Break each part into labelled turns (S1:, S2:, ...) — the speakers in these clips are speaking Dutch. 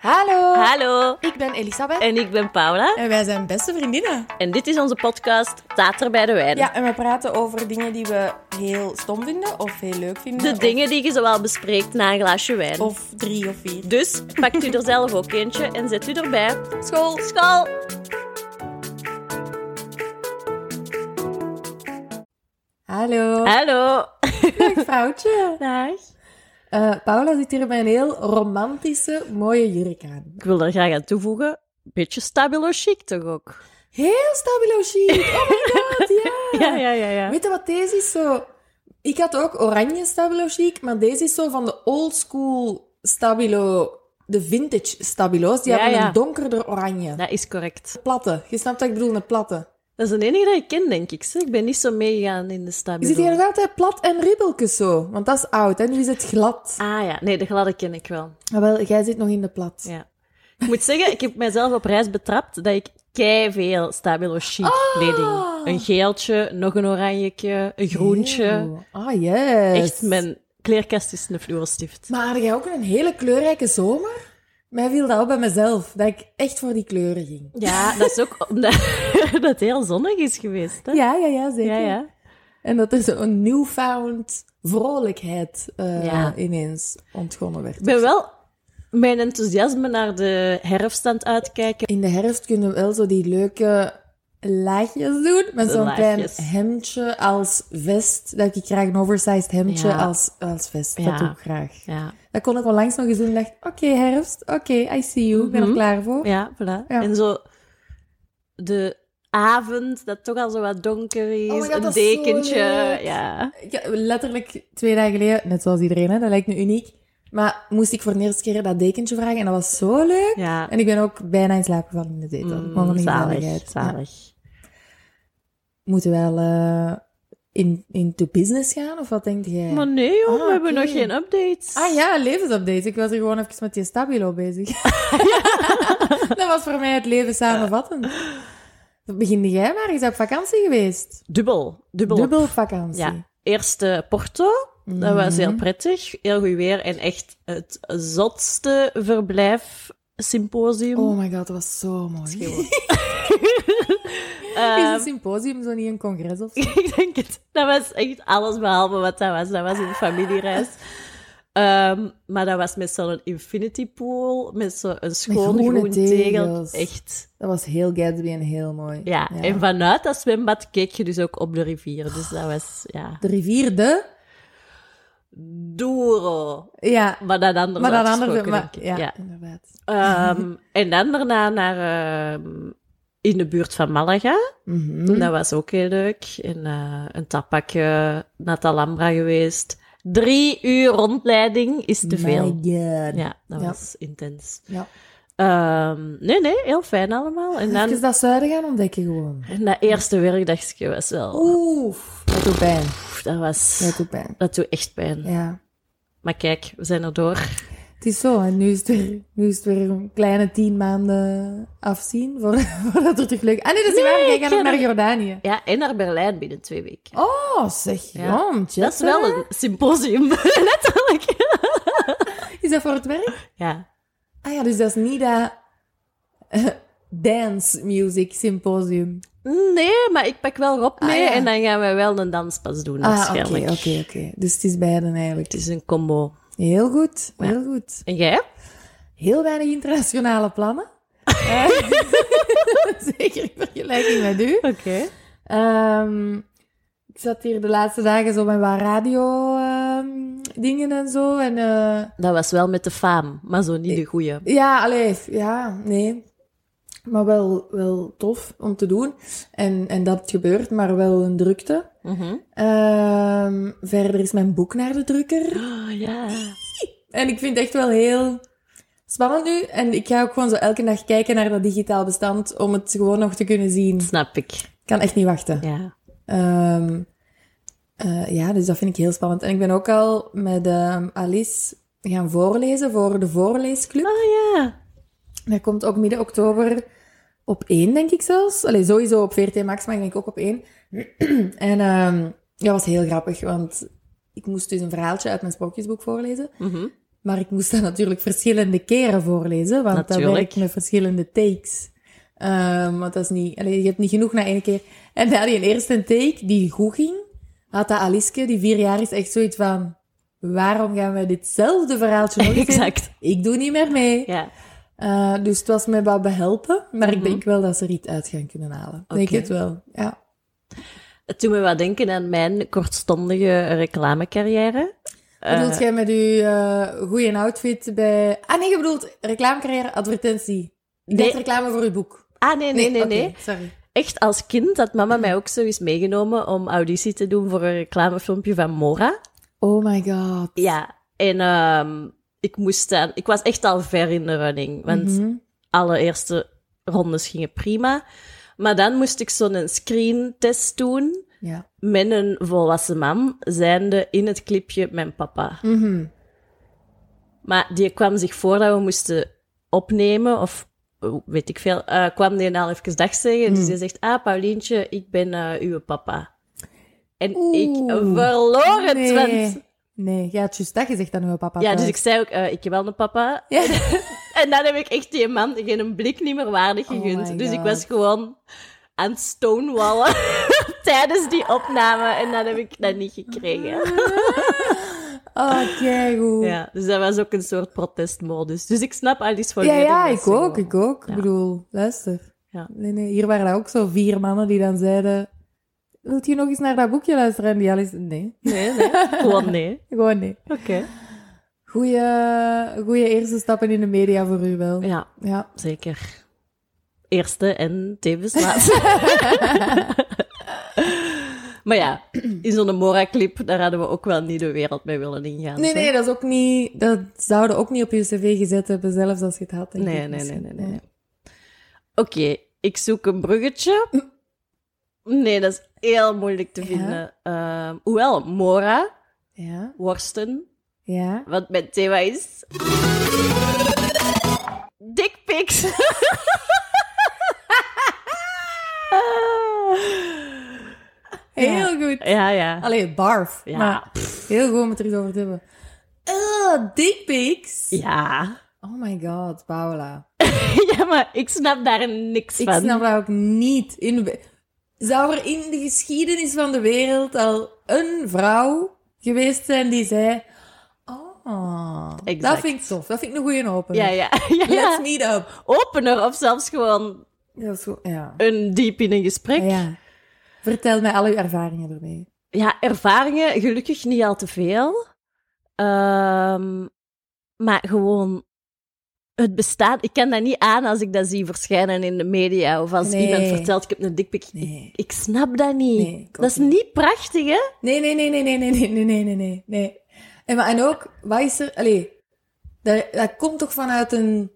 S1: Hallo.
S2: Hallo,
S1: Ik ben Elisabeth.
S2: en ik ben Paula.
S1: En wij zijn beste vriendinnen.
S2: En dit is onze podcast Tater bij de Wijn.
S1: Ja, en we praten over dingen die we heel stom vinden of heel leuk vinden.
S2: De
S1: of-
S2: dingen die je zowel bespreekt na een glaasje wijn.
S3: Oh.
S1: Of drie of vier.
S2: Dus pakt u er zelf ook eentje en zet u erbij.
S1: School.
S2: School!
S1: Hallo.
S2: Hallo!
S3: Dag vrouwtje.
S2: Dag.
S3: Eh, Paula zit hier met een heel romantische, mooie jurk aan.
S2: Ik wil er graag aan toevoegen, beetje stabilo chic toch ook?
S3: Heel stabilo chic. Oh my god, ja.
S2: Ja, ja, ja. ja.
S3: Weet je wat deze is zo... Ik had ook oranje stabilo chic, maar deze is zo van de old school stabilo... De vintage stabilo's. Die
S2: Ja,
S3: hebben
S2: ja.
S3: een donkerder oranje.
S2: Dat is correct.
S3: Platte. Je snapt wat ik bedoel, een platte.
S2: Dat is de enige dat ik ken, denk ik. zeg. Ik ben niet zo meegegaan in de
S3: Je
S2: stabilo.
S3: ziet hier nog altijd plat en ribbeltjes zo. Want dat is oud, hè. Nu is het glad.
S2: Ah ja, nee, de gladde ken ik wel.
S3: Maar wel, jij zit nog in de plat.
S2: Ja. Ik moet zeggen, ik heb mijzelf op reis betrapt dat ik kei veel stabilo chic
S3: Ah.
S2: kleding. Een geeltje, nog een oranjeke, een groentje.
S3: Oh, ah, yes.
S2: Echt, mijn kleerkast is een fluorstift.
S3: Maar had jij ook een hele kleurrijke zomer? Mij viel dat op bij mezelf, dat ik echt voor die kleuren ging.
S2: Ja, dat is ook omdat dat het heel zonnig is geweest. Hè?
S3: Ja, ja, ja, zeker.
S2: ja, ja.
S3: En dat er zo'n newfound vrolijkheid eh,
S2: Ja.
S3: ineens ontgonnen werd.
S2: Ik ben wel mijn enthousiasme naar de herfst aan het uitkijken.
S3: In de herfst kunnen we wel zo die leuke laagjes doen, met
S2: De
S3: zo'n klein
S2: laagjes.
S3: hemdje als vest. Dat ik graag een oversized hemdje
S2: Ja.
S3: als, als vest,
S2: Ja.
S3: dat doe ik graag.
S2: Ja,
S3: Dat kon ik onlangs nog eens doen en dacht, oké herfst, oké, I see you, ik ben er klaar voor.
S2: Mhm. ja voilà.
S3: Ja.
S2: En zo de avond, dat toch al zo wat donker is.
S3: Oh my God,
S2: een
S3: dat is zo
S2: dekentje.
S3: leuk.
S2: Ja.
S3: Ja, letterlijk twee dagen geleden, net zoals iedereen, hè, dat lijkt me uniek. Maar moest ik voor de eerste keer dat dekentje vragen en dat was zo leuk.
S2: ja.
S3: En ik ben ook bijna in slaap gevallen in de zetel.
S2: Mm,
S3: Gewoon van die
S2: zalig,
S3: gezelligheid. Ja.
S2: zalig.
S3: Moeten we wel eh, in, in de business gaan of wat denk jij?
S2: Maar nee, joh,
S3: Ah,
S2: we hebben
S3: oké.
S2: nog geen updates.
S3: Ah ja, levensupdate. Ik was er gewoon even met die stabilo bezig. dat was voor mij het leven samenvatten. Beginde jij maar, je bent op vakantie geweest.
S2: Dubbel. Dubbel.
S3: Dubbel op vakantie. Mm.
S2: Ja. Eerst eh, Porto. Dat was
S3: Mhm.
S2: heel prettig. Heel goed weer. En echt het zotste verblijf symposium.
S3: Oh my god, dat was zo mooi. Is
S2: Ehm,
S3: een symposium zo niet een congres of zo?
S2: ik denk het. Dat was echt alles behalve wat dat was. Dat was een familiereis. Ehm, maar dat was met zo'n infinity pool, met zo'n schoon
S3: groene
S2: groen tegel.
S3: tegels.
S2: Echt.
S3: Dat was heel Gatsby en heel mooi.
S2: Ja. en vanuit dat zwembad keek je dus ook op de rivier. Dus dat was, ja...
S3: De rivier de...
S2: Douro.
S3: Ja,
S2: Maar dat andere
S3: maar dan andere...
S2: uitgesproken,
S3: Maar,
S2: denk ik.
S3: ja,
S2: Ja.
S3: inderdaad.
S2: Ehm, en dan daarna naar, ehm, in de buurt van Malaga.
S3: Mhm.
S2: Dat was ook heel leuk. En, eh, een tapakje naar de Alhambra geweest. Drie uur rondleiding is te veel.
S3: My god.
S2: Ja, dat
S3: Ja.
S2: was intens.
S3: Ja.
S2: Ehm, nee, nee, heel fijn allemaal. En dan
S3: Even dat zuiden gaan ontdekken gewoon.
S2: en dat eerste werkdagje was wel...
S3: Oeh, dat doet pijn.
S2: Oef, dat was...
S3: Dat doet pijn.
S2: Dat doet echt pijn.
S3: Ja.
S2: Maar kijk, we zijn er door.
S3: Het is zo, en nu is het weer, nu is het weer een kleine tien maanden afzien voor, voordat het terug leuk... Ah nee, dat is niet waar, jij gaat
S2: geen-
S3: nog naar Jordanië.
S2: Ja, en naar Berlijn binnen twee weken.
S3: Oh, zeg, ja.
S2: dat is wel een symposium, letterlijk.
S3: Is dat voor het werk?
S2: Ja,
S3: Ah ja, dus dat is niet dat eh, dance music symposium.
S2: Nee, maar ik pak wel Rob mee
S3: Ah, ja.
S2: en dan gaan we wel een danspas doen
S3: Ah, oké,
S2: waarschijnlijk.
S3: oké, oké. Dus het is beiden eigenlijk.
S2: Het is een combo.
S3: Heel goed,
S2: Ja.
S3: heel goed.
S2: En jij?
S3: Heel weinig internationale plannen. Eh, Zeker in vergelijking met u.
S2: Oké.
S3: Ehm, ik zat hier de laatste dagen zo met wat radio ehm, dingen en zo. En eh,
S2: Dat was wel met de faam, maar zo niet de goeie.
S3: Ja, allee, ja, nee. Maar wel, wel tof om te doen. En, en dat gebeurt, maar wel een drukte.
S2: Mhm.
S3: Ehm, verder is mijn boek naar de drukker.
S2: Oh, ja.
S3: En ik vind het echt wel heel spannend nu. En ik ga ook gewoon zo elke dag kijken naar dat digitaal bestand om het gewoon nog te kunnen zien. Ik
S2: Snap ik.
S3: kan echt niet wachten.
S2: Ja.
S3: Ehm, eh, ja, dus dat vind ik heel spannend. En ik ben ook al met ehm, Alice gaan voorlezen voor de voorleesclub.
S2: Oh ja.
S3: Dat komt ook midden oktober op één, denk ik zelfs. Allee, sowieso op VRT Max, maar ik denk ook op één. en ehm, dat was heel grappig, want ik moest dus een verhaaltje uit mijn sprookjesboek voorlezen.
S2: Mhm.
S3: Maar ik moest dat natuurlijk verschillende keren voorlezen, want dat
S2: Natuurlijk.
S3: werkt met verschillende takes. Ehm, want dat is niet, allee, je hebt niet genoeg na één keer. En na die eerste take die goed ging, had dat Aliske, die vier jaar is, echt zoiets van: waarom gaan we ditzelfde verhaaltje nog eens in?
S2: Exact.
S3: Ik doe niet meer mee.
S2: Ja. Mhm.
S3: Eh, dus het was mij wat behelpen, maar ik denk wel dat ze er iets uit gaan kunnen halen. Ik Denk
S2: Oké.
S3: het wel, ja.
S2: Het doet me wat denken aan mijn kortstondige reclamecarrière.
S3: bedoelt jij met uw eh goede outfit bij... Ah nee, je bedoelt reclamecarrière, advertentie. Ik
S2: Nee.
S3: deed reclame voor uw boek.
S2: Ah, nee, nee, nee,
S3: oké,
S2: nee.
S3: sorry.
S2: Echt als kind had mama mij ook zo eens meegenomen om auditie te doen voor een reclamefilmpje van Mora.
S3: Oh my god.
S2: Ja, en ehm, ik moest dan... Ik was echt al ver in de running, want
S3: Mhm.
S2: allereerste rondes gingen prima. Maar dan moest ik zo'n screentest doen
S3: Ja.
S2: met een volwassen man, zijnde in het clipje mijn papa.
S3: Mhm.
S2: Maar die kwam zich voor dat we moesten opnemen, of eh, weet ik veel, eh, kwam die al even dag zeggen.
S3: Mhm.
S2: Dus die zegt, ah, Paulientje, ik ben eh, uw papa. En ik
S3: Oeh,
S2: verloor Oh, het,
S3: nee.
S2: want...
S3: Nee, ja, het is juist dat gezegd aan uw papa.
S2: Ja,
S3: thuis.
S2: dus ik zei ook, eh, ik heb wel een papa.
S3: Ja.
S2: En dan heb ik echt die man geen blik niet meer waardig
S3: Oh
S2: gegund.
S3: my
S2: dus ik
S3: God.
S2: was gewoon aan het stonewallen tijdens die opname. En dan heb ik dat niet gekregen.
S3: Oh, keigoed. Ja,
S2: Ja, dus dat was ook een soort protestmodus. Dus ik snap Alice van
S3: ja,
S2: Leeuwen wel
S3: ik
S2: zo.
S3: ook, ik ook.
S2: Ja.
S3: Ik bedoel, luister.
S2: Ja.
S3: Nee, nee, hier waren er ook zo vier mannen die dan zeiden... Wilt u nog eens naar dat boekje luisteren? En die Alice... Nee,
S2: Nee, nee. Gewoon nee.
S3: gewoon nee.
S2: Oké.
S3: Goeie, goeie eerste stappen in de media voor u wel.
S2: Ja,
S3: Ja.
S2: zeker. Eerste en tevens laatste. maar ja, in zo'n Mora-clip, daar hadden we ook wel niet de wereld mee willen ingaan.
S3: Nee,
S2: hè?
S3: nee, dat is ook niet... Dat zouden ook niet op je cv gezet hebben, zelfs als je het had. denk
S2: Nee,
S3: ik
S2: nee, nee,
S3: misschien.
S2: nee, nee. nee. Oké, ik zoek een bruggetje. Nee, dat is heel moeilijk te
S3: Ja.
S2: vinden. Ehm, hoewel, Mora,
S3: Ja,
S2: worsten,
S3: ja.
S2: wat mijn thema is. Dickpics.
S3: Heel goed.
S2: Ah. ja, ja.
S3: Allee, barf.
S2: Ja.
S3: Maar heel goed om het er iets over te hebben. Ugh, dick pics.
S2: Ja.
S3: Oh my god, Paula.
S2: ja, maar ik snap daar niks
S3: Ik
S2: van.
S3: snap dat ook niet. In de we- Zou er in de geschiedenis van de wereld al een vrouw geweest zijn die zei... Oh, dat
S2: Exact.
S3: vind ik tof. Dat vind ik een goeie opener.
S2: Ja, ja. ja,
S3: Let's
S2: ja.
S3: meet up.
S2: Opener of zelfs gewoon
S3: Dat is goed. Ja.
S2: een diep in een gesprek.
S3: ja. Vertel mij al uw ervaringen ermee.
S2: ja, ervaringen, gelukkig niet al te veel. Ehm, maar gewoon het bestaat. Ik kan dat niet aan als ik dat zie verschijnen in de media of als
S3: Nee.
S2: iemand vertelt ik heb een dikpik. Ik-
S3: Nee.
S2: Ik, snap dat niet.
S3: Nee, ik ook
S2: dat is
S3: niet.
S2: niet prachtig, hè?
S3: Nee, nee, nee, nee, nee, nee, nee, nee, nee, nee, nee, nee. En, maar, en ook, wat is er... Allee, dat, dat komt toch vanuit een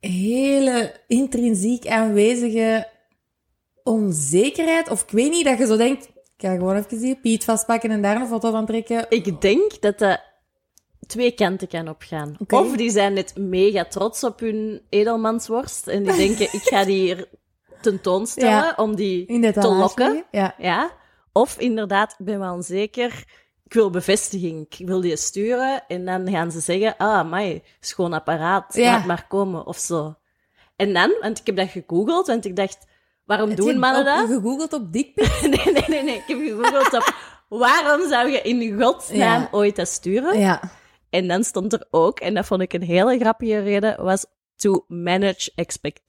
S3: hele intrinsiek aanwezige onzekerheid? Of ik weet niet, dat je zo denkt... Ik ga gewoon even die Piet vastpakken en daar een foto van trekken.
S2: Ik denk dat dat twee kanten kan opgaan.
S3: Oké.
S2: Of die zijn net mega trots op hun edelmansworst en die denken ik ga die hier tentoonstellen
S3: Ja.
S2: om die
S3: In dit
S2: te lokken.
S3: Ja.
S2: Ja. Of inderdaad, ik ben wel onzeker. Ik wil bevestiging. Ik wil die sturen. En dan gaan ze zeggen, ah, mij, schoon apparaat.
S3: Ja.
S2: Laat maar komen, of zo. En dan, want ik heb dat gegoogeld, want ik dacht, waarom
S3: Heb je
S2: doen mannen
S3: op-
S2: dat?
S3: gegoogeld op dikpik?
S2: Nee, nee, nee, nee. Ik heb gegoogeld op, waarom zou je in godsnaam
S3: Ja.
S2: ooit dat sturen?
S3: ja.
S2: En dan stond er ook, en dat vond ik een hele grappige reden, was to manage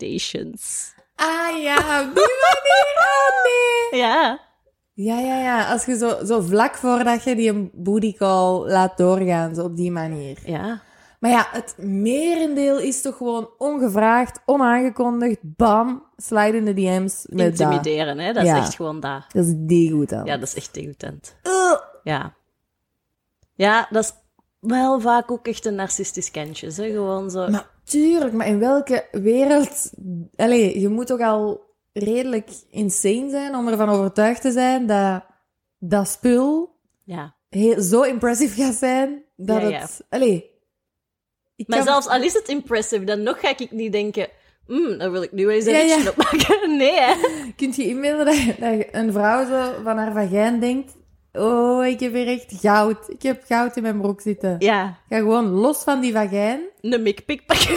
S2: expectations.
S3: Ah ja, op die manier. Oh nee.
S2: Ja.
S3: Ja, ja, ja. Als je zo, zo vlak voordat je die booty call laat doorgaan, zo op die manier.
S2: Ja.
S3: Maar ja, het merendeel is toch gewoon ongevraagd, onaangekondigd, bam, slide in de DM's met dat.
S2: Intimideren, hè. Dat
S3: Ja.
S2: is echt gewoon dat.
S3: Dat is die goed dan. Eh,
S2: Ja, dat is echt degoûtant.
S3: Ugh.
S2: Ja. Ja, dat is wel vaak ook echt een narcistisch kantje. Hè? Gewoon zo.
S3: Maar tuurlijk, maar in welke wereld... Allee, je moet toch al redelijk insane zijn om ervan overtuigd te zijn dat dat spul
S2: ja.
S3: heel, zo impressive gaat zijn dat
S2: Ja, ja.
S3: het... Allee. Ik
S2: maar
S3: kan-
S2: zelfs al is het impressive, dan nog ga ik niet denken... Mm, daar wil ik nu wel eens een
S3: Ja, ja.
S2: ritje op maken. Nee, hè.
S3: Kunt je inbeelden dat, je- dat je een vrouw zo van haar vagijn denkt Oh, ik heb weer echt goud. Ik heb goud in mijn broek zitten.
S2: Ja,
S3: Ik ga gewoon los van die vagijn.
S2: een mikpik pakken.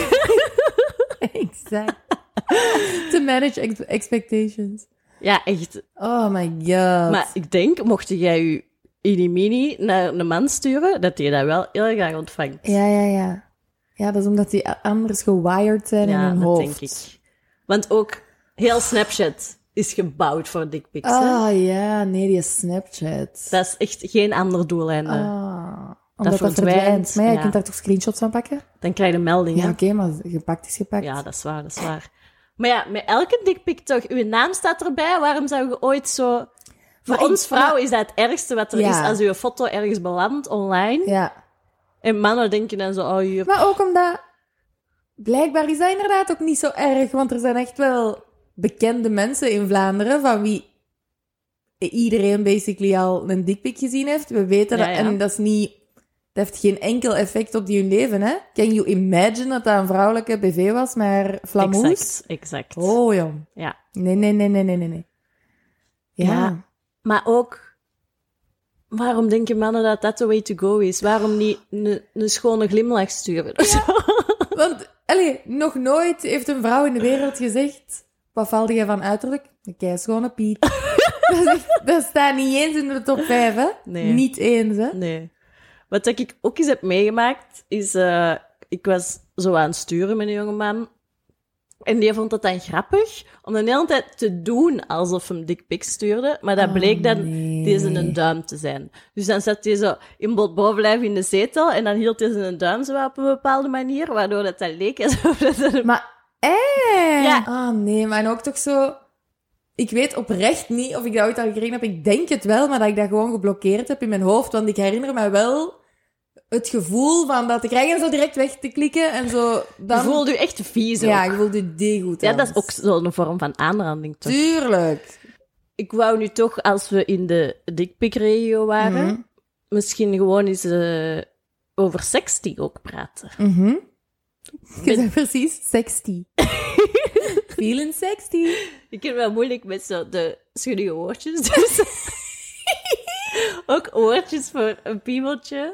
S3: Exact. To manage ex- expectations.
S2: Ja, echt.
S3: Oh my god.
S2: Maar ik denk, mocht jij je inimini naar een man sturen, dat hij dat wel heel graag ontvangt.
S3: Ja, ja, ja. Ja, dat is omdat die a- anders gewired zijn in
S2: Ja,
S3: hun
S2: dat
S3: hoofd.
S2: denk ik. Want ook heel Snapchat is gebouwd voor dickpics. hè.
S3: Ah ja, nee, die Snapchat.
S2: Dat is echt geen ander doeleinde.
S3: Ah, omdat dat, verdwijnt.
S2: verdwijnt,
S3: Maar ja, je
S2: ja.
S3: kunt daar toch screenshots van pakken?
S2: Dan krijg je meldingen.
S3: Ja, oké, maar gepakt is gepakt.
S2: Ja, dat is waar, dat is waar. Maar ja, met elke dikpik toch, uw naam staat erbij, waarom zou je ooit zo... Voor
S3: Maar ik-
S2: ons vrouwen is dat het ergste wat er
S3: Ja.
S2: is, als uw foto ergens belandt online.
S3: ja.
S2: En mannen denken dan zo, oh hier...
S3: Maar ook omdat... Blijkbaar is dat inderdaad ook niet zo erg, want er zijn echt wel bekende mensen in Vlaanderen van wie iedereen basically al een dikpik gezien heeft. We weten
S2: Ja,
S3: dat,
S2: ja.
S3: en dat is niet... Dat heeft geen enkel effect op hun leven, hè? Can you imagine dat dat een vrouwelijke BV was, maar flamoes?
S2: Exact, exact.
S3: Oh, jong.
S2: Ja.
S3: Nee, nee, nee, nee, nee, nee, nee. Ja.
S2: Ja. Maar ook, waarom denken mannen dat dat the way to go is? Waarom niet een een schone glimlach sturen? of zo?
S3: Want, allee, nog nooit heeft een vrouw in de wereld gezegd... Wat valt jij van uiterlijk? Een keischone piet. dat, is echt- dat staat niet eens in de top 5, hè?
S2: Nee.
S3: Niet eens, hè?
S2: Nee. Wat dat ik ook eens heb meegemaakt, is... eh, ik was zo aan het sturen met een jonge man. En die vond dat dan grappig, om de hele tijd te doen alsof hem dikpik stuurde. Maar dat bleek dan
S3: Oh, nee.
S2: deze een duim te zijn. Dus dan zat hij zo in bot bovenlijf in de zetel en dan hield hij zijn duim zo op een bepaalde manier, waardoor dat, dat leek alsof dat er...
S3: Maar, eh?
S2: Ja.
S3: Ah, nee, maar en ook toch zo... Ik weet oprecht niet of ik dat ooit al gekregen heb. Ik denk het wel, maar dat ik dat gewoon geblokkeerd heb in mijn hoofd. Want ik herinner me wel het gevoel van dat te krijgen en zo direct weg te klikken en zo... Dan...
S2: Je voelde je echt vies ook.
S3: Ja, ik voelde die goed
S2: Ja, dat is
S3: aan.
S2: ook zo'n vorm van aanranding, toch?
S3: Tuurlijk.
S2: Ik wou nu toch, als we in de dikpikregio waren,
S3: Mhm.
S2: misschien gewoon eens eh, over seks die ook praten.
S3: Mhm. Je bent precies 60. Feeling 60.
S2: Ik heb wel moeilijk met zo de schuddige woordjes, dus... ook woordjes voor een piemeltje.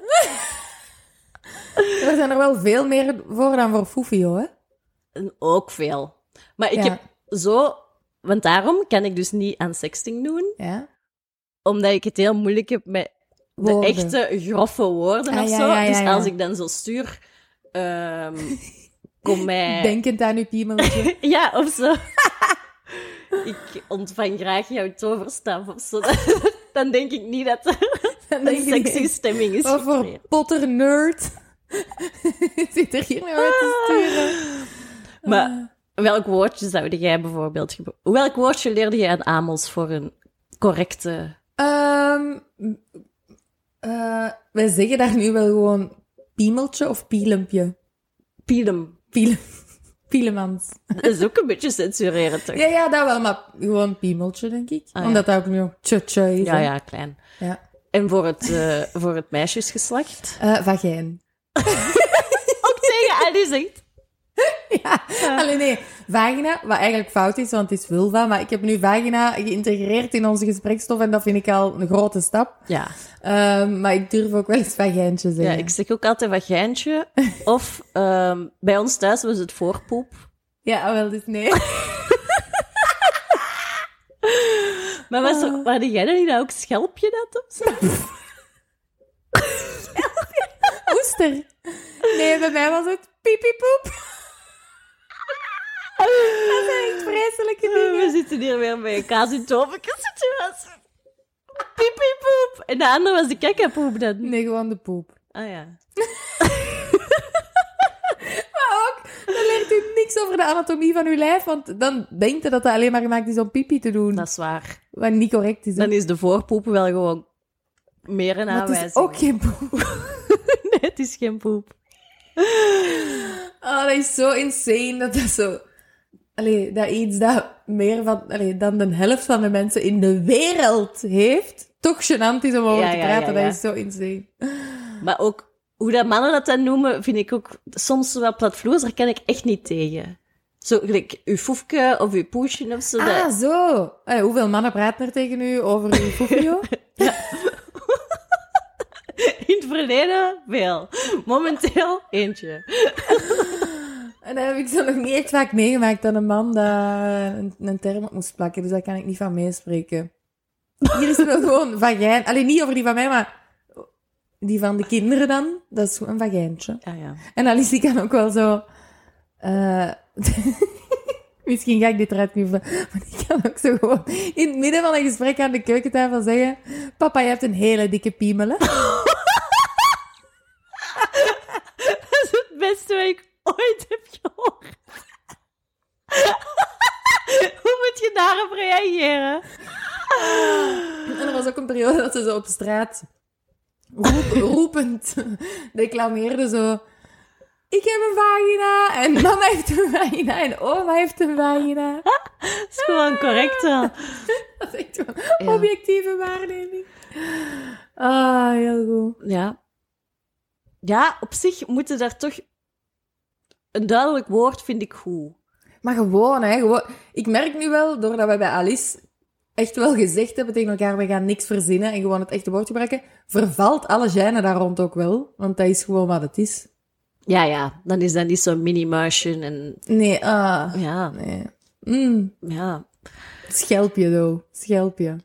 S3: Er zijn er wel veel meer voor dan voor Fufio, hè?
S2: En ook veel. Maar ik
S3: Ja.
S2: heb zo... Want daarom kan ik dus niet aan sexting doen,
S3: Ja.
S2: omdat ik het heel moeilijk heb met de
S3: Woorden.
S2: echte grove woorden
S3: Ah,
S2: of
S3: ja,
S2: zo.
S3: ja, ja,
S2: dus
S3: ja.
S2: als ik dan zo stuur, ehm kom mij...
S3: Denkend aan uw piemeltje.
S2: Ja, of zo. ik ontvang graag jouw toverstaf of zo. dan denk ik niet dat er
S3: Dan
S2: een
S3: denk je,
S2: sexy stemming is
S3: Wat voor
S2: gecreëerd.
S3: potter nerd zit er hier nou uit
S2: Ah.
S3: te sturen?
S2: Maar welk woordje zou jij bijvoorbeeld... gebru- Welk woordje leerde jij aan Amos voor een correcte...
S3: Ehm, eh, wij zeggen daar nu wel gewoon piemeltje of pielempje.
S2: Pilem.
S3: Pielem, pielemans.
S2: Dat is ook een beetje censureren, toch?
S3: Ja, ja, dat wel, maar gewoon piemeltje, denk ik.
S2: Ah, ja.
S3: Omdat dat ook nu ook tje-tje is.
S2: Ja,
S3: hè.
S2: ja, klein.
S3: Ja.
S2: En voor het, eh, voor het meisjesgeslacht?
S3: Eh, vagijn.
S2: Ook tegen Annie zegt...
S3: Ja, alleen nee, vagina, wat eigenlijk fout is, want het is vulva, maar ik heb nu vagina geïntegreerd in onze gesprekstof en dat vind ik al een grote stap.
S2: Ja.
S3: Ehm, maar ik durf ook wel eens vagijntje
S2: ja,
S3: zeggen.
S2: ik zeg ook altijd vagijntje. Of ehm, bij ons thuis was het voorpoep.
S3: Ja, wel, dus nee.
S2: Maar was er, waren jij dan niet dat ook schelpje dat of zo?
S3: Oester. Nee, bij mij was het piepipoep. Dat zijn echt vreselijke dingen.
S2: Oh, We zitten hier weer bij een kaas in toverkens situatie. Piep, piep, poep. En de andere was de kekkerpoep dan.
S3: Nee, gewoon de poep.
S2: Ah ja.
S3: Maar ook, dan leert u niks over de anatomie van uw lijf, want dan denkt u dat dat alleen maar gemaakt is om pipi te doen.
S2: Dat is waar.
S3: Wat niet correct is. hè.
S2: Dan is de voorpoep wel gewoon meer een
S3: Maar
S2: aanwijzing.
S3: het is ook geen poep.
S2: nee, het is geen poep.
S3: Oh, dat is zo insane dat dat zo... Allee, dat iets dat meer van, allee, dan de helft van de mensen in de wereld heeft, toch gênant is om over
S2: Ja,
S3: te
S2: ja,
S3: praten.
S2: ja, ja.
S3: Dat is zo insane.
S2: Maar ook hoe dat mannen dat dan noemen, vind ik ook soms wel platvloers. Daar kan ik echt niet tegen. Zo gelijk uw foefke of uw poesje of zo. dat-
S3: Ah, zo. Allee, hoeveel mannen praten er tegen u over uw foefio?
S2: het verleden veel. Momenteel eentje.
S3: En dat heb ik zo nog niet echt vaak meegemaakt dat een man dat een, een term op moest plakken. Dus daar kan ik niet van meespreken. Hier is wel gewoon vagijn. Alleen niet over die van mij, maar die van de kinderen dan. Dat is gewoon een vagijntje.
S2: Ah ja.
S3: En Alice die kan ook wel zo... eh, Misschien ga ik dit eruit knippen, maar die kan ook zo gewoon in het midden van een gesprek aan de keukentafel zeggen... Papa, je hebt een hele dikke piemelen.
S2: Dat is het beste wat ik ooit heb gehoord. Hoe moet je daarop reageren?
S3: En er was ook een periode dat ze zo op straat roep- roepend declameerde zo... Ik heb een vagina, en mama heeft een vagina, en oma heeft een vagina.
S2: Dat is gewoon correct wel.
S3: Dat is echt zo'n objectieve waarneming. Ah, heel goed.
S2: Ja. Ja, op zich moeten daar toch... Een duidelijk woord vind ik goed.
S3: Maar gewoon, hè. Gewoon. Ik merk nu wel, doordat we bij Alice echt wel gezegd hebben tegen elkaar, we gaan niks verzinnen en gewoon het echte woord gebruiken, vervalt alle gêne daar rond ook wel. Want dat is gewoon wat het is.
S2: Ja, ja. Dan is dat niet zo'n mini-motion en...
S3: Nee, ah.
S2: Ja,
S3: Nee. Mm,
S2: ja.
S3: schelpje, though. Schelpje.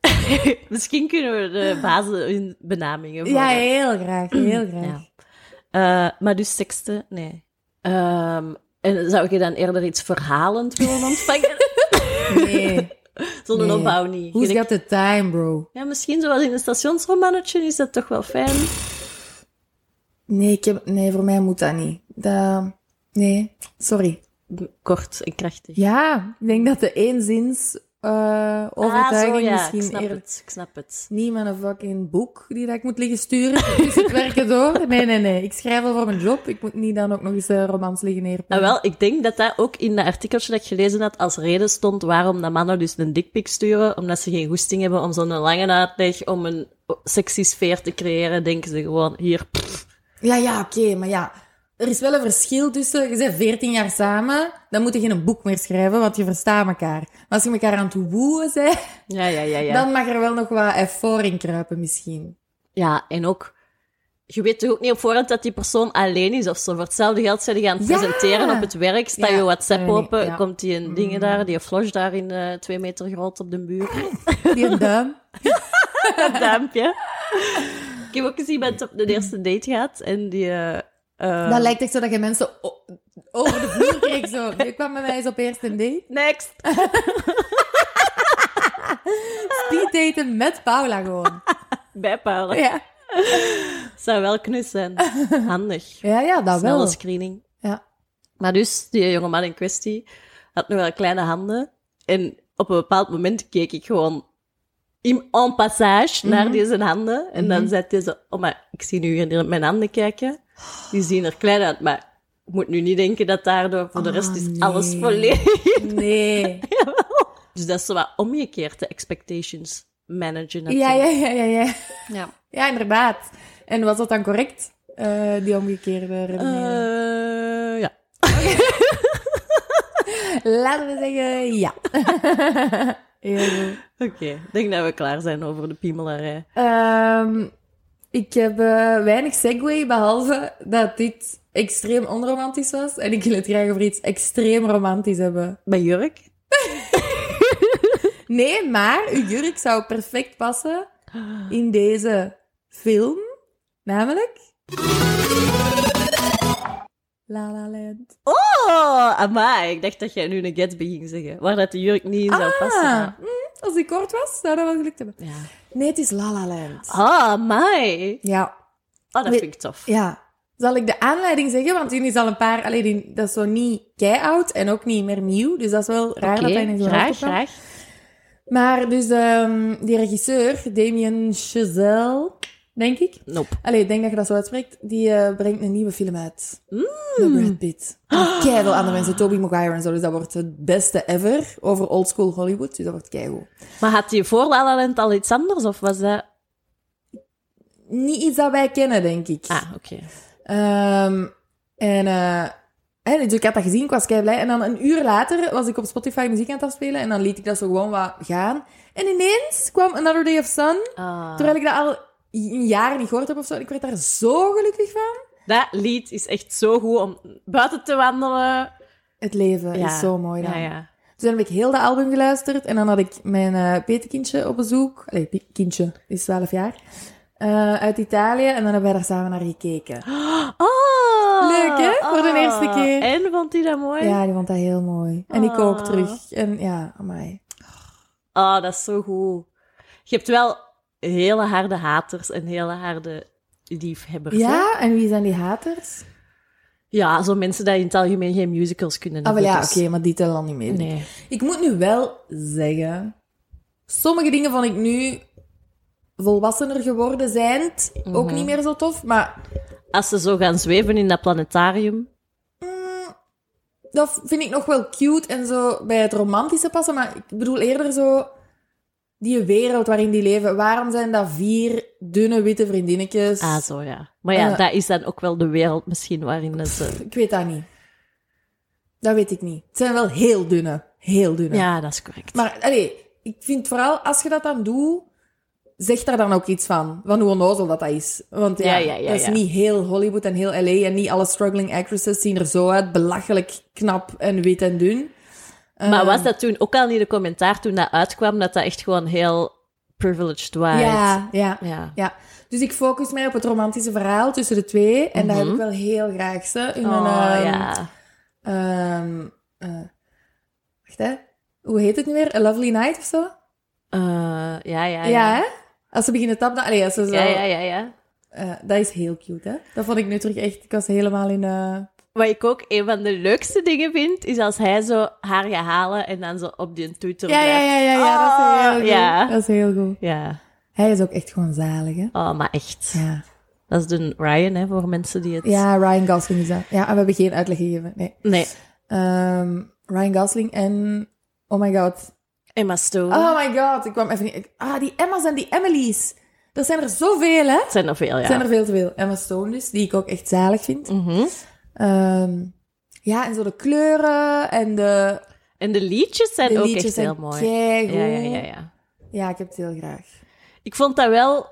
S2: Misschien kunnen we de basis in benamingen voor-
S3: Ja, heel graag. Heel graag.
S2: Ja. Eh, maar dus teksten, nee. Ehm, en zou je dan eerder iets verhalend willen ontvangen?
S3: Nee.
S2: Zonder
S3: Nee.
S2: opbouw niet.
S3: Who's
S2: Je denkt,
S3: got the time, bro?
S2: Ja, misschien zoals in een stationsromannetje is dat toch wel fijn.
S3: Nee, ik heb, nee, voor mij moet dat niet. Dat, nee, sorry.
S2: Kort en krachtig.
S3: Ja, ik denk dat de eenzins eh overtuiging
S2: ah, zo, ja, ik
S3: misschien
S2: snap
S3: eerder
S2: het. Ik snap het.
S3: Niet met een fucking boek die dat ik moet liggen sturen tussen het werken door. Nee, nee, nee. Ik schrijf al voor mijn job. Ik moet niet dan ook nog eens eh, romans liggen
S2: Nou
S3: neerpakken.
S2: wel, ik denk dat dat ook in dat artikeltje dat ik gelezen had als reden stond waarom dat mannen dus een dikpik sturen. Omdat ze geen goesting hebben om zo'n lange uitleg, om een sexy sfeer te creëren, denken ze gewoon hier. pff.
S3: Ja, ja, oké. maar ja, er is wel een verschil tussen... Je bent 14 jaar samen, dan moet je geen boek meer schrijven, want je verstaat elkaar. Maar als je elkaar aan het woeën bent,
S2: Ja, ja, ja, ja.
S3: dan mag er wel nog wat effort in kruipen misschien.
S2: Ja, en ook, je weet toch ook niet op voorhand dat die persoon alleen is of zo. Voor hetzelfde geld zijn die gaan
S3: Ja.
S2: presenteren op het werk, sta
S3: Ja. Eh,
S2: je WhatsApp
S3: Nee,
S2: open,
S3: ja. Mm.
S2: komt die een dingen daar, die flosh daar in eh, twee meter groot op de muur.
S3: Die een duim.
S2: dat duimpje. Ik heb ook eens iemand op de eerste date gehad en die... eh, eh,
S3: Dat lijkt echt zo dat je mensen o- over de vloer kreeg. Zo. Je kwam bij mij eens op eerste date.
S2: Next!
S3: Speeddaten met Paula gewoon.
S2: Bijpalen.
S3: Ja,
S2: Zou wel knus zijn. Handig.
S3: ja, ja dat
S2: Snelle
S3: Ah, wel.
S2: screening.
S3: Ja.
S2: Maar dus, die jongeman in kwestie had nog wel kleine handen. En op een bepaald moment keek ik gewoon in en passage
S3: Mhm.
S2: naar deze handen. En dan zei hij zo, oh maar, ik zie nu hier naar mijn handen kijken. Die zien er klein uit, maar ik moet nu niet denken dat daardoor... Voor de rest is
S3: Ah, nee.
S2: alles volledig.
S3: Nee.
S2: Dus dat is zo wat omgekeerd, de expectations managen.
S3: Ja, ja,
S2: natuurlijk.
S3: ja, ja, ja.
S2: ja.
S3: Ja, inderdaad. En was dat dan correct? Eh, die omgekeerde redenering.
S2: Eh, ja.
S3: Laten we zeggen ja. Heel goed.
S2: Oké, ik denk dat we klaar zijn over de piemelarij.
S3: Ehm, ik heb eh, weinig segue, behalve dat dit extreem onromantisch was. En ik wil het graag over iets extreem romantisch hebben.
S2: Bij Jurk?
S3: Nee, maar uw jurk zou perfect passen in deze film. Namelijk... La La Land.
S2: Oh, amai. Ik dacht dat jij nu een Gatsby ging zeggen. Waar dat de jurk niet in zou
S3: Ah,
S2: passen.
S3: mm, als die kort was, zou dat wel gelukt hebben.
S2: Ja.
S3: Nee, het is La La Land.
S2: Ah, amai.
S3: Ja,
S2: Oh, dat
S3: Weet-
S2: vind ik tof.
S3: ja. Zal ik de aanleiding zeggen? Want die is al een paar... Allee, die- dat is zo niet kei-oud en ook niet meer nieuw. Dus dat is wel raar dat hij in zo'n hoofd opkwam. Maar dus ehm, die regisseur, Damien Chazelle, denk ik.
S2: Nope.
S3: Allee, ik denk dat je dat zo uitspreekt. Die eh, brengt een nieuwe film uit. Met Brad Pitt. Kei veel andere mensen. Tobey Maguire en zo. Dus dat wordt het beste ever over oldschool Hollywood. Dus dat wordt keigoed.
S2: Maar had hij voor La La Land al iets anders? Of was dat...
S3: Niet iets dat wij kennen, denk ik.
S2: Ah, oké.
S3: Ehm, en, eh, hè, dus ik had dat gezien, ik was kei blij. En dan een uur later was ik op Spotify muziek aan het afspelen. En dan liet ik dat zo gewoon wat gaan. En ineens kwam Another Day of Sun.
S2: Ah.
S3: Terwijl ik dat al een jaar niet gehoord heb of zo. En ik werd daar zo gelukkig van.
S2: Dat lied is echt zo goed om buiten te wandelen.
S3: Het leven
S2: Ja.
S3: is zo mooi dan.
S2: Ja, ja.
S3: Dus dan heb ik heel dat album geluisterd. En dan had ik mijn eh, petekindje op bezoek. Allee, pi- kindje, die is 12 jaar. Eh, uit Italië. En dan hebben wij daar samen naar gekeken.
S2: Oh,
S3: Leuk, hè? Voor de
S2: oh.
S3: eerste keer.
S2: En vond hij dat mooi?
S3: Ja, die vond dat heel mooi. En ik ook
S2: Ah.
S3: terug. En ja, amai.
S2: Oh, dat is zo goed. Je hebt wel hele harde haters en hele harde liefhebbers. hè?
S3: Ja, en wie zijn die haters?
S2: Ja, zo mensen die in het algemeen geen musicals kunnen
S3: Ah, wel ja,
S2: dus-
S3: oké, maar die tellen dan niet mee.
S2: Nee.
S3: Ik moet nu wel zeggen, sommige dingen vond ik nu volwassener geworden zijnd ook
S2: Mhm.
S3: niet meer zo tof, maar
S2: Als ze zo gaan zweven in dat planetarium.
S3: dat vind ik nog wel cute en zo bij het romantische passen. Maar ik bedoel eerder zo die wereld waarin die leven. Waarom zijn dat vier dunne witte vriendinnetjes?
S2: Ah, zo ja. Maar ja,
S3: Eh.
S2: dat is dan ook wel de wereld misschien waarin dat ze.
S3: Ik weet dat niet. Dat weet ik niet. Het zijn wel heel dunne, heel dunne.
S2: Ja, dat is correct.
S3: Maar allee, ik vind vooral als je dat dan doet, zeg daar dan ook iets van. Van hoe onnozel dat dat is. Want ja,
S2: Ja, ja, ja,
S3: dat is
S2: ja.
S3: niet heel Hollywood en heel LA. En niet alle struggling actresses zien er zo uit. Belachelijk knap en wit en dun.
S2: Maar
S3: Ehm,
S2: was dat toen ook al in de commentaar toen dat uitkwam, dat dat echt gewoon heel privileged was?
S3: Ja, ja.
S2: Ja.
S3: Ja, dus ik focus mij op het romantische verhaal tussen de twee. En dat heb ik wel heel graag, ze. In mijn,
S2: Mhm. Oh,
S3: ehm,
S2: ja.
S3: ehm, eh, wacht, hè. Hoe heet het nu weer? A Lovely Night of zo?
S2: Eh, ja, ja, ja.
S3: ja, hè? Als ze beginnen tappen... Allee, als ze zo...
S2: ja, ja, ja, ja.
S3: Eh, dat is heel cute, hè? Dat vond ik nu terug echt... Ik was helemaal in... eh,
S2: Wat ik ook een van de leukste dingen vind, is als hij zo haar gaat halen en dan zo op die Twitter
S3: Ja, ja,
S2: blijft.
S3: ja, ja, Ah, ja. dat is heel
S2: Oh,
S3: goed.
S2: ja.
S3: Dat is heel goed.
S2: Ja.
S3: Hij is ook echt gewoon zalig, hè?
S2: Oh, maar echt.
S3: Ja.
S2: Dat is de Ryan, hè, voor mensen die het...
S3: Ja, Ryan Gosling is dat. Ja, en we hebben geen uitleg gegeven. Nee.
S2: Nee,
S3: Ehm, Ryan Gosling en... Oh my god.
S2: Emma Stone.
S3: Oh my god. Ik kwam even niet... ik- Ah, die Emma's en die Emily's. Er zijn er zoveel, hè?
S2: Het zijn er veel, ja.
S3: Er zijn er veel te veel. Emma Stone dus, die ik ook echt zalig vind.
S2: Mhm.
S3: Ehm, ja, en zo de kleuren en de,
S2: En de liedjes zijn
S3: de
S2: ook
S3: liedjes
S2: echt
S3: zijn
S2: heel mooi.
S3: keigoed.
S2: Ja, ja, ja, ja.
S3: ja, ik heb het heel graag.
S2: Ik vond dat wel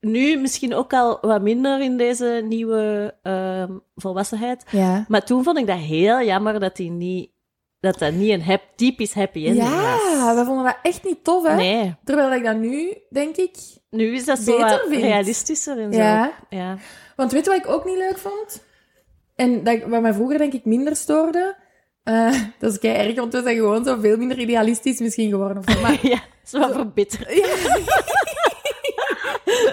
S2: nu misschien ook al wat minder in deze nieuwe ehm, volwassenheid.
S3: Ja.
S2: Maar toen vond ik dat heel jammer dat die niet, dat, dat niet een hap, typisch happy ending
S3: Ja,
S2: was.
S3: we vonden dat echt niet tof, hè?
S2: Nee,
S3: Terwijl ik dat nu, denk ik...
S2: nu is dat zo
S3: Beter
S2: wat
S3: vindt.
S2: realistischer en zo.
S3: Ja.
S2: ja.
S3: Want weet je wat ik ook niet leuk vond? En dat, ik- wat mij vroeger, denk ik, minder stoorde... Eh, dat is kei erg, want we zijn gewoon zo veel minder idealistisch misschien geworden. Of zo. Maar
S2: Ja, zo wat verbitterd.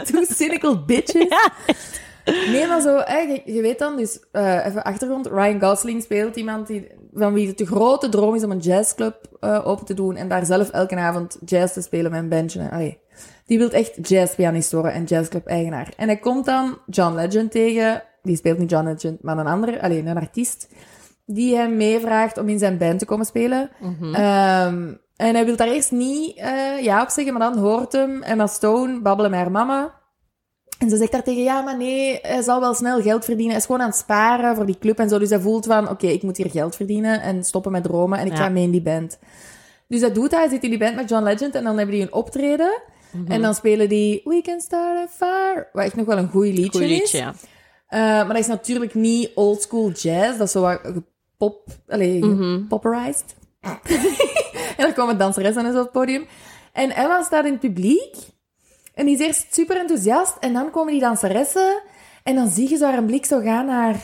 S3: Two cynical bitches. Nee, maar zo, hè, je, je weet dan, dus eh, even achtergrond. Ryan Gosling speelt iemand die, van wie het de grote droom is om een jazzclub eh open te doen en daar zelf elke avond jazz te spelen met een bandje. En, allee, die wil echt jazzpianist worden en jazzclub-eigenaar. En hij komt dan John Legend tegen, die speelt niet John Legend, maar een andere, alleen een artiest, die hem meevraagt om in zijn band te komen spelen.
S2: Mhm.
S3: Ehm, en hij wil daar eerst niet eh, ja op zeggen, maar dan hoort hem Emma Stone babbelen met haar mama. En ze zegt daar tegen, ja, maar nee, hij zal wel snel geld verdienen. Hij is gewoon aan het sparen voor die club en zo. Dus hij voelt van, oké, ik moet hier geld verdienen en stoppen met dromen en ik
S2: Ja.
S3: ga mee in die band. Dus dat doet hij. Hij zit in die band met John Legend en dan hebben die een optreden.
S2: Mhm.
S3: En dan spelen die We Can Start a Fire, wat echt nog wel een goed liedje,
S2: Goed
S3: is.
S2: liedje, ja.
S3: Eh, maar dat is natuurlijk niet old school jazz. Dat is zo wat pop, allee,
S2: Mhm.
S3: popperized. en dan komen danseressen en zo op het podium. En Emma staat in het publiek. En die is eerst super enthousiast. En dan komen die danseressen. En dan zie je zo haar blik zo gaan naar...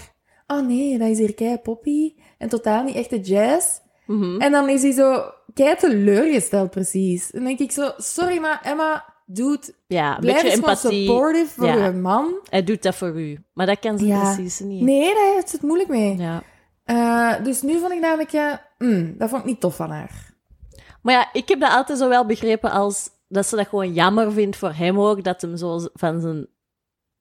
S3: Oh nee, dat is hier kei poppy. En totaal niet echte jazz.
S2: Mhm.
S3: En dan is hij zo kei teleurgesteld precies. En dan denk ik zo... Sorry, maar Emma, dude...
S2: Ja, een
S3: Blijf
S2: beetje
S3: eens gewoon
S2: empathie.
S3: supportive voor
S2: Ja.
S3: je man.
S2: Hij doet dat voor u. Maar dat kan ze
S3: Ja.
S2: precies niet.
S3: Nee, daar heeft ze het moeilijk mee.
S2: Ja.
S3: Eh, dus nu vond ik namelijk, ja, mm, dat vond ik niet tof van haar.
S2: Maar ja, ik heb dat altijd zo wel begrepen als dat ze dat gewoon jammer vindt voor hem ook, dat hem zo z- van zijn,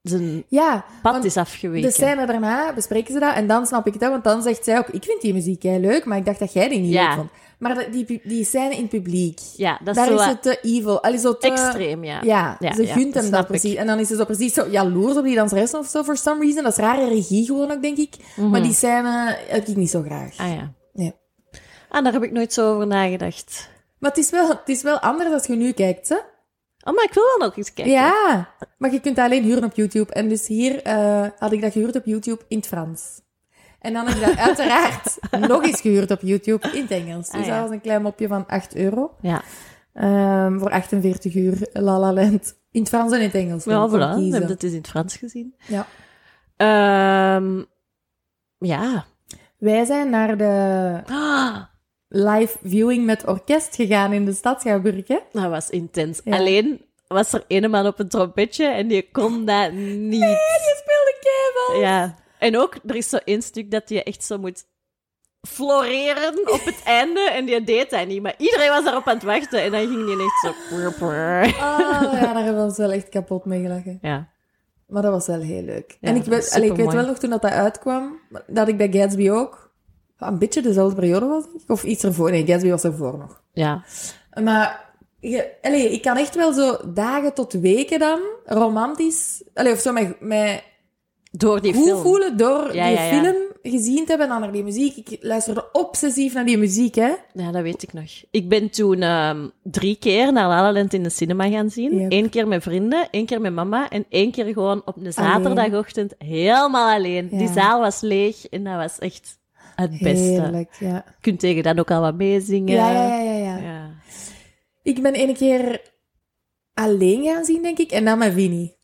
S2: zijn
S3: Ja,
S2: pad
S3: want
S2: is
S3: de
S2: afgeweken.
S3: scène daarna bespreken ze dat en dan snap ik het, hè, want dan zegt zij ook, ik vind die muziek heel leuk, maar ik dacht dat jij die niet
S2: Ja.
S3: leuk vond. Maar dat- die, pu- die scène in het publiek,
S2: ja, dat is
S3: daar
S2: zo
S3: is
S2: wat
S3: het te evil. Allee, zo te,
S2: extreem, ja.
S3: Ja,
S2: Ja,
S3: ze
S2: ja,
S3: gunt hem
S2: dat
S3: dat
S2: snap
S3: precies.
S2: ik.
S3: En dan is ze zo precies zo jaloers op die danseres of zo, for some reason. Dat is rare regie gewoon ook, denk ik. Maar die scène heb ik niet zo graag.
S2: Mhm. Ah ja.
S3: Nee.
S2: Ah, daar heb ik nooit zo over nagedacht.
S3: Maar het is, wel, het is wel anders als je nu kijkt, hè?
S2: Oh, maar ik wil wel nog eens kijken.
S3: Ja, maar je kunt dat alleen huren op YouTube. En dus hier eh, had ik dat gehuurd op YouTube in het Frans. En dan heb ik dat uiteraard nog eens gehuurd op YouTube in het Engels. Dus
S2: Ah, ja.
S3: dat was een klein mopje van 8 euro.
S2: Ja.
S3: Ehm, voor 48 uur La La Land. In het Frans en in het Engels.
S2: Ja,
S3: Je kon
S2: voilà. We
S3: kiezen.
S2: hebben het eens in het Frans gezien.
S3: Ja.
S2: Ehm, ja.
S3: Wij zijn naar de
S2: Ah,
S3: live viewing met orkest gegaan in de stad Schouwburg, hè?
S2: dat was intens.
S3: Ja.
S2: Alleen was er ene man op een trompetje en die kon dat niet.
S3: Je speelde keihard.
S2: Ja. En ook, er is zo één stuk dat je echt zo moet floreren op het einde en die deed dat niet. Maar iedereen was daarop aan het wachten en dan ging die echt zo...
S3: Oh, ja, daar hebben we ons wel echt kapot mee gelachen.
S2: Ja.
S3: Maar dat was wel heel leuk.
S2: Ja,
S3: en ik
S2: dat
S3: weet,
S2: was
S3: allee, ik weet
S2: supermooi.
S3: wel nog toen dat, dat uitkwam, dat ik bij Gatsby ook een beetje dezelfde periode was. denk ik. Of iets ervoor. Nee, Gatsby was ervoor nog.
S2: Ja.
S3: Maar je, allee, ik kan echt wel zo dagen tot weken dan romantisch... Allee, of zo met, met
S2: Door die
S3: goed
S2: film.
S3: voelen door
S2: Ja,
S3: die
S2: ja, ja.
S3: film gezien te hebben en dan naar die muziek. Ik luisterde obsessief naar die muziek, hè.
S2: Ja, dat weet ik nog. Ik ben toen ehm, drie keer naar La La Land in de cinema gaan zien.
S3: Yep.
S2: Eén keer met vrienden, één keer met mama en één keer gewoon op een zaterdagochtend helemaal alleen.
S3: Ja.
S2: Die zaal was leeg en dat was echt het beste.
S3: Heerlijk, ja.
S2: Je kunt tegen dat ook al wat meezingen.
S3: Ja, ja, ja, ja, ja.
S2: Ja.
S3: Ik ben ene keer alleen gaan zien, denk ik, en dan met Winnie.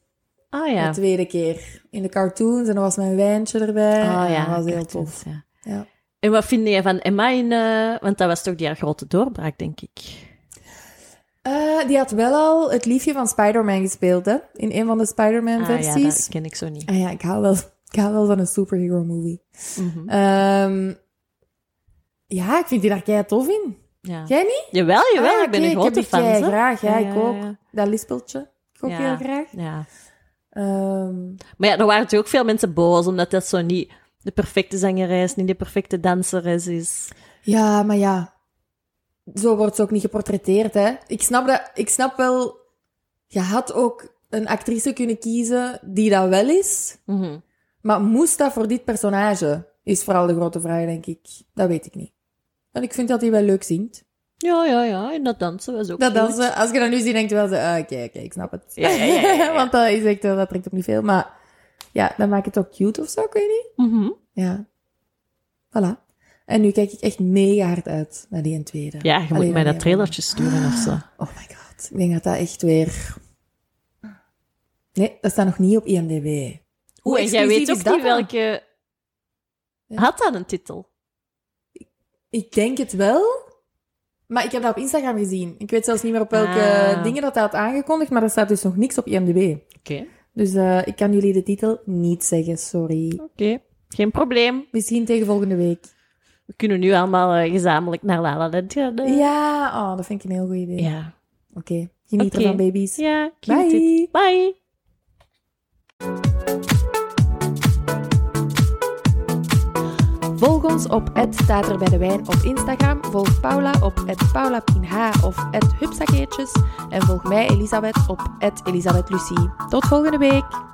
S2: Ah ja.
S3: De tweede keer. In de cartoons en dan was mijn wijntje erbij.
S2: Ah
S3: En
S2: ja.
S3: Dat eh, was heel
S2: cartoons,
S3: tof.
S2: ja.
S3: Ja.
S2: En wat vind je van Emma in... eh, want dat was toch die haar grote doorbraak, denk ik.
S3: Eh, die had wel al het liefje van Spider-Man gespeeld, hè? In een van de
S2: Ah ja, dat
S3: Spider-Man-versies.
S2: ken ik zo niet.
S3: Ah ja, ik hou wel, ik hou wel van een superhero-movie.
S2: Mhm.
S3: Ehm, ja, ik vind die daar kei tof in.
S2: Ja.
S3: Jij niet?
S2: Jawel, jawel.
S3: Ah,
S2: ik ben
S3: kijk,
S2: een grote
S3: heb die
S2: fan.
S3: kei
S2: hè.
S3: graag, ja,
S2: Ja,
S3: ik
S2: ja,
S3: ook.
S2: ja.
S3: Dat lispeltje, ik ook
S2: Ja.
S3: heel graag.
S2: Ja.
S3: Ehm,
S2: Maar ja, er waren natuurlijk veel mensen boos, omdat dat zo niet de perfecte zangeres, niet de perfecte danseres is.
S3: ja, maar ja, zo wordt ze ook niet geportretteerd, hè? Ik snap, dat, ik snap wel, je had ook een actrice kunnen kiezen die dat wel is, maar moest dat voor dit personage? Is vooral de grote vraag, denk ik. Dat weet ik niet. En ik vind dat hij wel leuk zingt.
S2: Ja, ja, ja. En dat dansen was ook
S3: Dat
S2: goed.
S3: dansen, als je dat nu ziet, denkt wel zo, ah, oké, oké, ik snap het.
S2: Ja, ja, ja, ja, ja.
S3: Want dat is echt wel, dat trekt op niet veel. Maar ja, dat maakt het ook cute of zo, ik weet niet.
S2: Mhm.
S3: Ja. Voilà. En nu kijk ik echt mega hard uit naar die en tweede.
S2: Ja, je
S3: Alleen
S2: moet mij
S3: naar
S2: dat
S3: die andere.
S2: trailertje sturen of zo.
S3: Oh my god, ik denk dat dat echt weer... Nee, dat staat nog niet op IMDb.
S2: Oeh, en jij
S3: exclusief
S2: weet
S3: is
S2: ook
S3: dat
S2: niet
S3: dan?
S2: welke...
S3: Ja.
S2: Had dat een titel?
S3: Ik denk het wel. Maar ik heb dat op Instagram gezien. Ik weet zelfs niet meer op welke
S2: Ah.
S3: dingen dat hij had aangekondigd, maar er staat dus nog niks op IMDb.
S2: Oké.
S3: Dus eh, ik kan jullie de titel niet zeggen, sorry.
S2: Oké. Geen probleem.
S3: Misschien tegen volgende week.
S2: We kunnen nu allemaal eh, gezamenlijk naar La La Land gaan. eh.
S3: Ja, oh, dat vind ik een heel goed idee.
S2: Ja.
S3: Oké, geniet
S2: Oké.
S3: ervan, baby's.
S2: Ja, cute
S3: Bye.
S2: it. Bye.
S3: Volg ons op het staat er bij de wijn op Instagram. Volg Paula op het paulapinh of het hupsakeertjes. En volg mij, Elisabeth, op het Elisabeth Lucie. Tot volgende week!